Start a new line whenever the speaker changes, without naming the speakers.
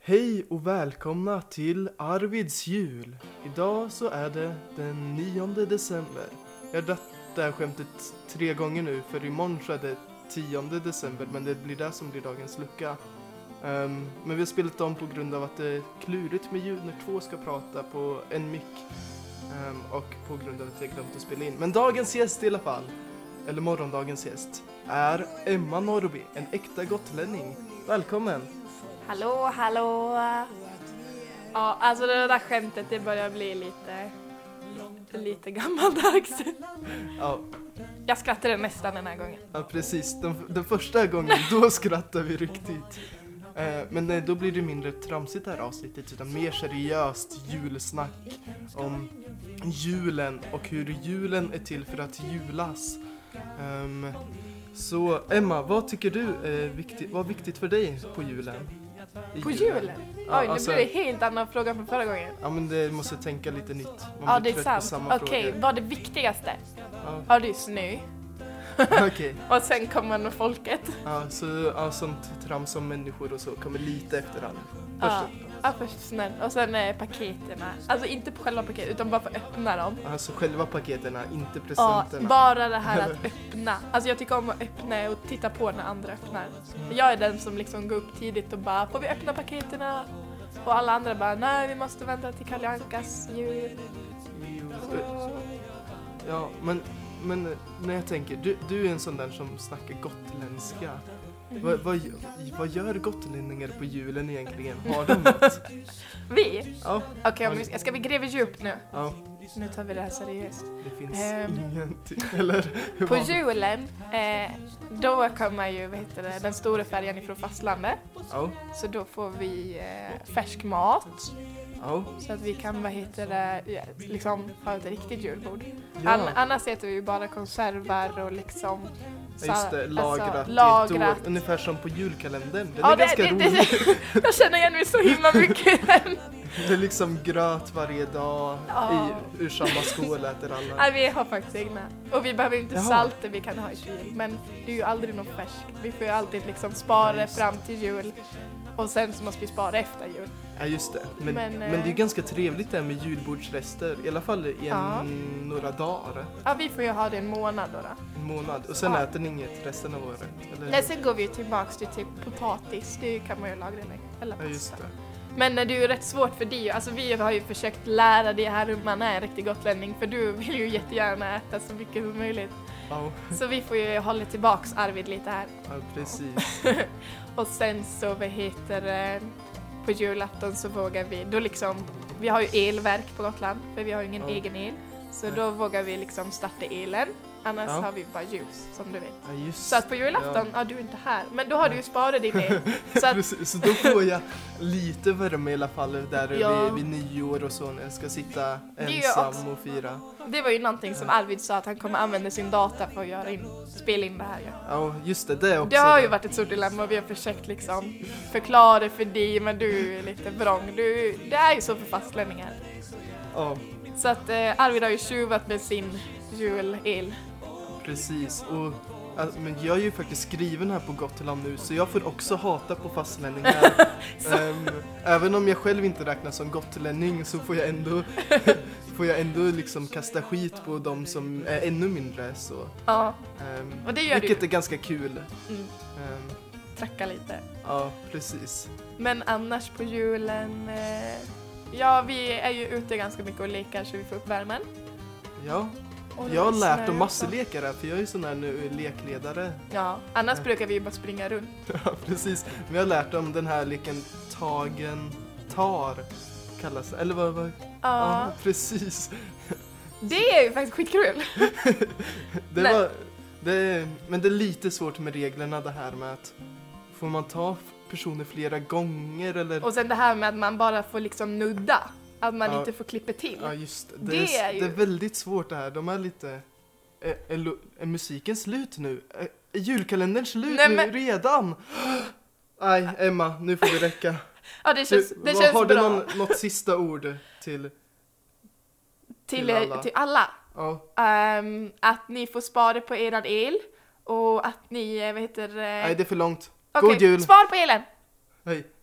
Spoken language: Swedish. Hej och välkomna till Arvids jul. Idag så är det den 9 december. Jag har dragit det här skämtet tre gånger nu för imorgon så är det 10 december men det blir det som blir dagens lucka. Ehm, men vi har spelat om på grund av att det är klurigt med ljud när två ska prata på en mick. Ehm, och på grund av att jag glömt att spela in. Men dagens gäst i alla fall, eller morgondagens gäst, är Emma Norby, en äkta gotlänning. Välkommen!
Hallå, hallå! Ja, alltså det där skämtet det börjar bli lite, lite gammaldags.
Ja,
Jag skrattade nästan den här gången.
Ja precis, den, den första gången då skrattar vi riktigt. Eh, men nej, då blir det mindre tramsigt det här avsnittet utan mer seriöst julsnack om julen och hur julen är till för att julas. Ehm, så Emma, vad tycker du är viktigt, vad är viktigt för dig på julen? I
På julen? Oj,
Ja,
nu
alltså-
blir det helt annan fråga från förra gången.
Ja men det måste tänka lite nytt. Man
Ja, det
blir
är
trött på
sant.
samma
Okej,
frågor.
vad är det viktigaste?
Ja,
Ja, det är snö.
Okej,
Och sen kommer nog folket.
ja, så ja, sånt trams om människor och så kommer lite efterhand.
Ja, ja först snön. Och sen eh, paketen. Alltså inte på själva paketet, utan bara för att öppna dem.
Alltså själva paketerna, inte
Ja,
presenterna.
bara det här att öppna. Alltså jag tycker om att öppna och titta på när andra öppnar. Jag är den som liksom går upp tidigt och bara, får vi öppna paketerna? Och alla andra bara, nej vi måste vänta till Kalle Ankas jul.
Ja, men, men eh, när jag tänker, du, du är en sån där som snackar gotländska. Vad, vad, gö- vad gör gotlänningar på julen egentligen? Har de något?
Vi?
Ja,
Okej, om vi ska, ska vi gräva djupt nu?
ja,
Nu tar vi det här seriöst.
det finns
Ehm.
ingenting. Eller hur
På
var det?
julen, eh, då kommer ju vad heter det, den stora färjan ifrån fastlandet.
Ja,
Så då får vi eh, färsk mat.
ja,
Så att vi kan, vad heter det, ja, liksom ha ett riktigt julbord.
Ja.
An- annars äter vi ju bara konserver och liksom...
ja, just det. Lagrat
Alltså,
i ett
lagrat.
år. Ungefär som på julkalendern. Den
Ja,
är
det-
ganska
det- det-
rolig.
Jag känner igen mig så himla mycket.
Det är liksom gröt varje dag
Ja. Alltså,
i, ur samma skål äter alla.
Nej, vi har faktiskt egna. Och vi behöver inte
Jaha.
salt det vi kan ha i kyl. Men det är ju aldrig något färskt. Vi får ju alltid liksom spara det fram till jul. Och sen så måste vi spara efter jul.
Ja just det, men, men,
Men, eh,
det är ganska trevligt det här med julbordsrester, i alla fall i en,
Ja.
några dagar,
Ja, vi får ju ha det en månad då. då.
en månad. Och sen
Ja.
äter ni inget resten av året, eller?
Nej, sen går vi ju tillbaks till typ potatis. Det kan man ju lagra länge. Eller
Ja just
pasta.
det.
Men eh, det är ju rätt svårt för dig. Alltså vi har ju försökt lära dig här hur man är en riktig gotlänning för du vill ju jättegärna äta så mycket som möjligt.
Ja,
Så vi får ju hålla tillbaks Arvid lite här.
ja precis.
Och sen så, vad heter det, på julafton så vågar vi, då liksom, vi har ju elverk på Gotland för vi har ju ingen
Ja.
egen el. Så
Nej.
då vågar vi liksom starta elen. Annars
Ja.
har vi bara ljus som du vet.
Ja, just
Så att på julafton, ja. du är inte här, men då har du ju sparat din el. Så att,
Precis, så då får jag lite värme i alla fall där
Ja.
vid, vid nyår och så när jag ska sitta
är ju
ensam
också-
och fira.
det var ju någonting som Arvid sa att han kommer använda sin data för att göra in, spela in det här ju.
Ja just det, det är också
Det har ju varit ett stort dilemma och vi har försökt liksom förklara det för dig men du är lite vrång. Du, det är ju så för fastlänningar.
Ja,
Så att eh, Arvid har ju tjuvat med sin julel.
precis. Och, ja, men jag är ju faktiskt skriven här på Gotland nu så jag får också hata på fastlänningar.
Så-
Ehm, även om jag själv inte räknas som gotlänning så får jag ändå, får jag ändå liksom kasta skit på de som är ännu mindre. Så,
Ja,
ehm,
Och det gör
vilket
du.
är ganska kul.
mm,
Ehm,
tracka lite.
ja, precis.
Men annars på julen, eh, ja vi är ju ute ganska mycket och lekar så vi får upp värmen.
Ja,
Och
jag har
det
lärt
snöar
dem massor
också.
lekar här för jag är ju sån här nu lekledare.
Ja, annars brukar vi ju bara springa runt.
Ja, precis. Men jag har lärt dem den här leken tagen tar kallas det. Eller vad? vad?
Ja,
Ja, precis.
det är ju faktiskt skitkul.
Det
Nej.
var, det, men det är lite svårt med reglerna det här med att får man ta f- personer flera gånger eller?
Och sen det här med att man bara får liksom nudda. Att man
Ja.
inte får klippa till.
Ja just det.
Det
s-
är ju-
det är väldigt svårt det här. De är lite... Är, är, lo- är musiken slut nu? Är, är julkalendern slut
Nej,
nu
men-
redan? Nej, Emma, nu får det räcka.
Ja, det känns,
Du,
det
vad-
känns
har
bra.
du någon, något sista ord till?
till,
till
eh,
alla?
till alla.
Ja,
Ehm, att ni får spara på eran el och att ni, eh, vad heter eh,
nej det är för långt.
okej,
God jul!
Spar på elen!
Hej.